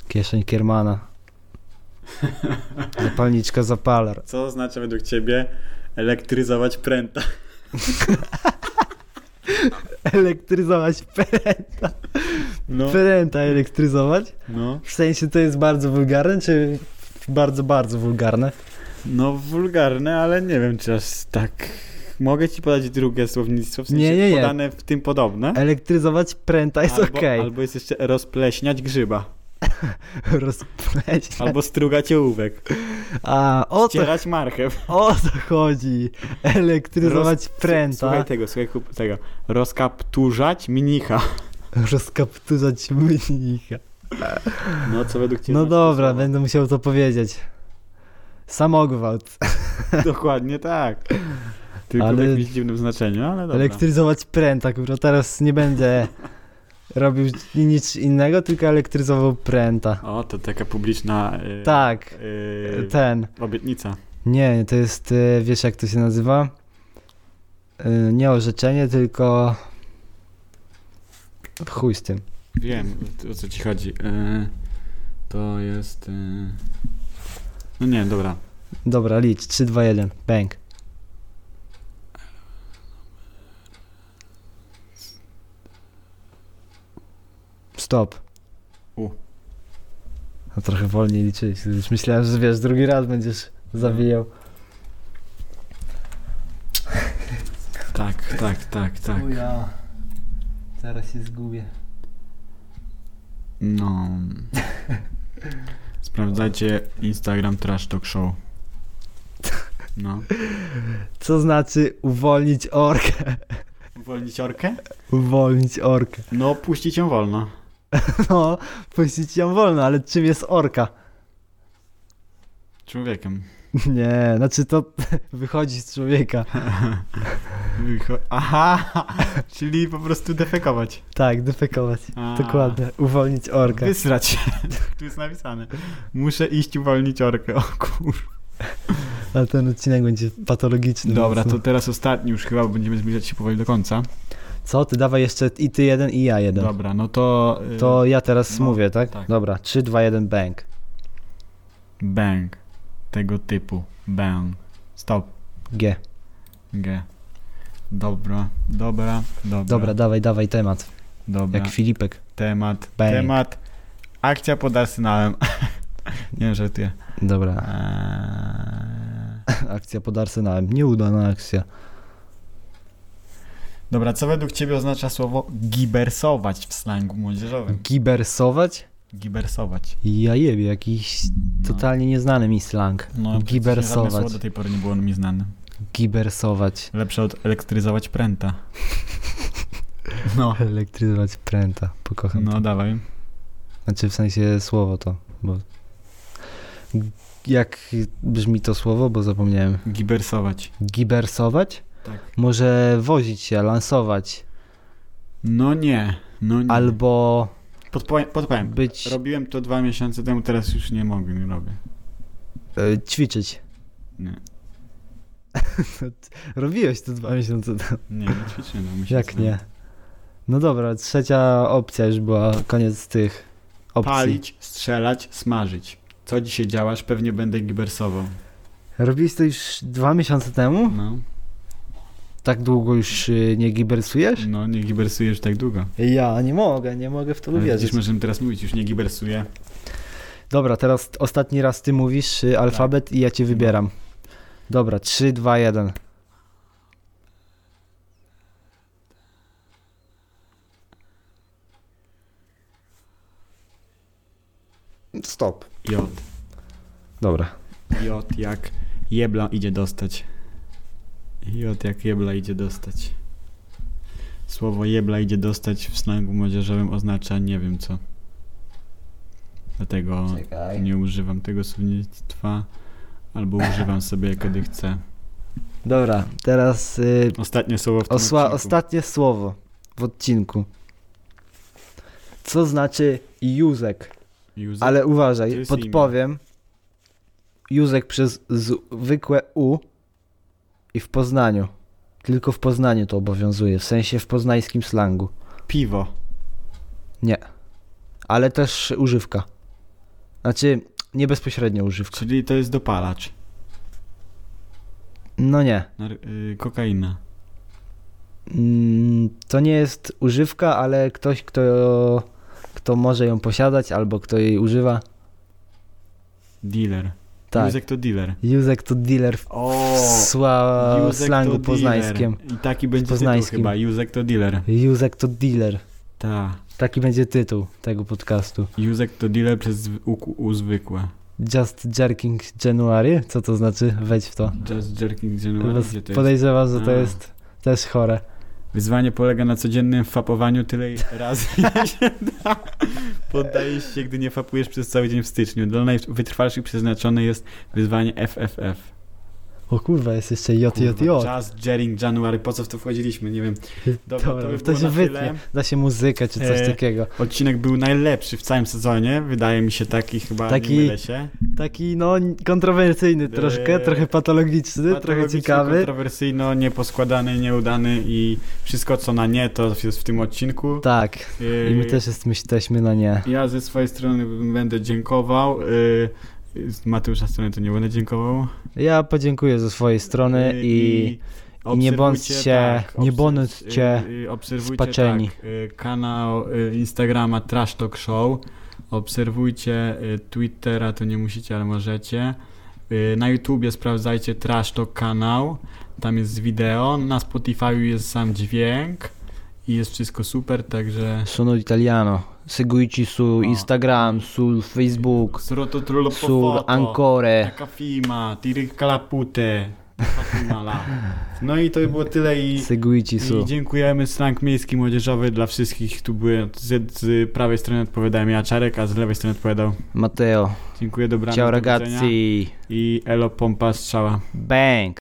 Kieszeń Kiermana. *laughs* Zapalniczka zapalar. Co oznacza według ciebie elektryzować pręta? Elektryzować pręta. No, Pręta elektryzować? no, W sensie to jest bardzo wulgarne, czy bardzo, bardzo wulgarne? no wulgarne, ale nie wiem czy aż tak... Mogę ci podać drugie słownictwo, w sensie Nie, nie, nie. podane w tym podobne. Elektryzować pręta jest albo, okej. albo jest jeszcze rozpleśniać grzyba, Rozpleśniać. albo strugać *laughs* ołówek, A, o to, ścierać marchew. o to chodzi. Elektryzować pręta. Słuchaj tego, słuchaj kup- tego. Rozkapturzać mnicha. *laughs* Rozkapturzać mnicha. No co według ciebie? No znaczy to dobra, słowo? będę musiał to powiedzieć. Samogwałt. *laughs* Dokładnie tak. Tylko Ale- w jakimś dziwnym znaczeniu, ale dobra. Elektryzować pręta, kurwa. Teraz nie będę robił nic innego, tylko elektryzował pręta. O, to taka publiczna... y, Tak, y, ten. Obietnica. Nie, to jest, y, wiesz jak to się nazywa? Y, Nie orzeczenie, tylko chuj z tym. Wiem, o co ci chodzi. E, to jest... E... No nie, dobra. Dobra, licz, 3, 2, 1, bang. Stop. U. No trochę wolniej liczyć, już myślałem, że wiesz, drugi raz będziesz zawijał. No, Tak, tak, tak, tak. Uja. Zaraz się zgubię. No... Sprawdzajcie Instagram Trash Talk Show. No. Co znaczy uwolnić orkę? Uwolnić orkę? Uwolnić orkę. *laughs* No, puścić ją wolno. No, puścić ją wolno, ale czym jest orka? *laughs* Człowiekiem. Nie, znaczy to *laughs* wychodzi z człowieka. Wycho- Aha! Czyli po prostu defekować. Tak, defekować. A. Dokładnie, uwolnić orkę. Wysrać się. Tu jest napisane. Muszę iść uwolnić orkę. O kur... Ale ten odcinek będzie patologiczny. Dobra, mocno. to teraz ostatni już chyba, bo będziemy zbliżać się powoli do końca. Co, ty dawaj jeszcze i ty jeden i ja jeden. Dobra, no to... y, To ja teraz No, mówię, tak? tak. Dobra, 3, 2, 1, bang. Bang. Tego typu. Bang. Stop. G. G. Dobra, dobra, dobra. Dobra, dawaj, dawaj temat. dobra. Jak Filipek. Temat, Bang. No. temat. Akcja pod Arsenałem. *laughs* Nie żartuję. Dobra, *laughs* Eee... akcja pod Arsenałem. Nieudana akcja. Dobra, co według ciebie oznacza słowo gibersować w slangu młodzieżowym? Gibersować? Gibersować. Ja jebie, jakiś No. totalnie nieznany mi slang. praktycznie Żadne tak, gibersować. słowo do tej pory nie było mi znane. Gibersować. Lepsze od elektryzować pręta. No, Elektryzować pręta. Pokocham no dawaj. Znaczy w sensie słowo to, bo jak brzmi to słowo, bo zapomniałem. Gibersować. Gibersować? Tak. Może wozić się, lansować, No nie, no nie. albo Podpowiem, podpowiem. być, Robiłem to dwa miesiące temu, teraz już nie mogę, nie robię. e, ćwiczyć. Nie, *laughs* Robiłeś to dwa miesiące temu. nie, nie ćwiczę. No, myślę Jak sobie. nie? No dobra, trzecia opcja już była, koniec tych opcji. Palić, strzelać, smażyć. Co dzisiaj działasz? Pewnie będę gibersował. Robiłeś to już dwa miesiące temu? No, Tak długo już y, nie gibersujesz? no nie gibersujesz tak długo. No Ja nie mogę, nie mogę w to Ale uwierzyć. Widzisz, możemy teraz mówić, już nie gibersuję. Dobra, teraz ostatni raz ty mówisz y, alfabet i ja cię wybieram. Dobra, 3, 2, 1. Stop. Jot, Dobra. jot jak jebla idzie dostać. Jot jak jebla idzie dostać. Słowo jebla idzie dostać w slangu młodzieżowym oznacza nie wiem co. Dlatego Czekaj. nie używam tego słownictwa, albo używam sobie kiedy chcę. Dobra, teraz y, Ostatnie słowo w tym osła, odcinku. ostatnie słowo w odcinku. Co znaczy Józek? Józef? Ale To uważaj, jest imię. podpowiem. Józek przez zwykłe U i w Poznaniu. Tylko w Poznaniu to obowiązuje, w sensie w poznańskim slangu. Piwo. Ale też używka. Znaczy, nie bezpośrednio używka. Czyli to jest dopalacz. No nie. Nar- y- kokaina. Mm, To nie jest używka, ale ktoś, kto, kto może ją posiadać albo kto jej używa. Dealer. Tak. Józek to dealer. Józek to dealer w O! sła Józek slangu to poznańskim. Dealer. I taki będzie Poznańskim. tytuł chyba. Józek to dealer. Józek to dealer. Ta. Taki będzie tytuł tego podcastu. Józek to dealer przez zw- u, u zwykłe. Just Jerking January? Co to znaczy? Wejdź w to. Just jerking general. Was Gdzie to jest? Mm. Podejrzewam, że to A. jest też chore. Wyzwanie polega na codziennym fapowaniu tyle razy, *laughs* ile się da. Poddajesz się, gdy nie fapujesz przez cały dzień w styczniu. Dla najwytrwalszych przeznaczone jest wyzwanie FFF. O kurwa, jest jeszcze JJJ. Kurwa, Just Jering January. Po co w to wchodziliśmy? Nie wiem. Dobra, to by to było się na wytnie. tyle. Da się muzykę czy coś E, takiego. Odcinek był najlepszy w całym sezonie. Wydaje mi się taki chyba, Taki nie mylę się. Taki no kontrowersyjny troszkę, e, trochę patologiczny, trochę Patologiczny, ciekawy. kontrowersyjno, nieposkładany, nieudany i wszystko co na nie to jest w tym odcinku. Tak. Yy, I my też jest- jesteśmy na nie. Ja ze swojej strony będę dziękował. Yy, Z Mateusza strony to nie będę dziękował. Ja podziękuję ze swojej strony Yy, i i nie obserwujcie, tak, bądźcie- nie obserw- bądźcie yy, yy, obserwujcie, spaczeni. Tak, yy, kanał yy, Instagrama Trash Talk Show. Obserwujcie yy, Twittera, to nie musicie, ale możecie. Yy, Na YouTubie sprawdzajcie Trash Talk kanał. Tam jest wideo. Na Spotify jest sam dźwięk. I jest wszystko super, także... sono italiano, seguici su O. Instagram, sul Facebook, Sroto trullo po sul foto. Ancore. Taka firma, tiry kalapute. No i to by było tyle i, Seguici i su. dziękujemy Slang Miejski Młodzieżowy dla wszystkich. Tu były z, z prawej strony odpowiadałem ja Czarek, a z lewej strony odpowiadał. Matteo. Dziękuję, dobranoc. Ciao do widzenia. ragazzi. I elo pompa strzała. Bang.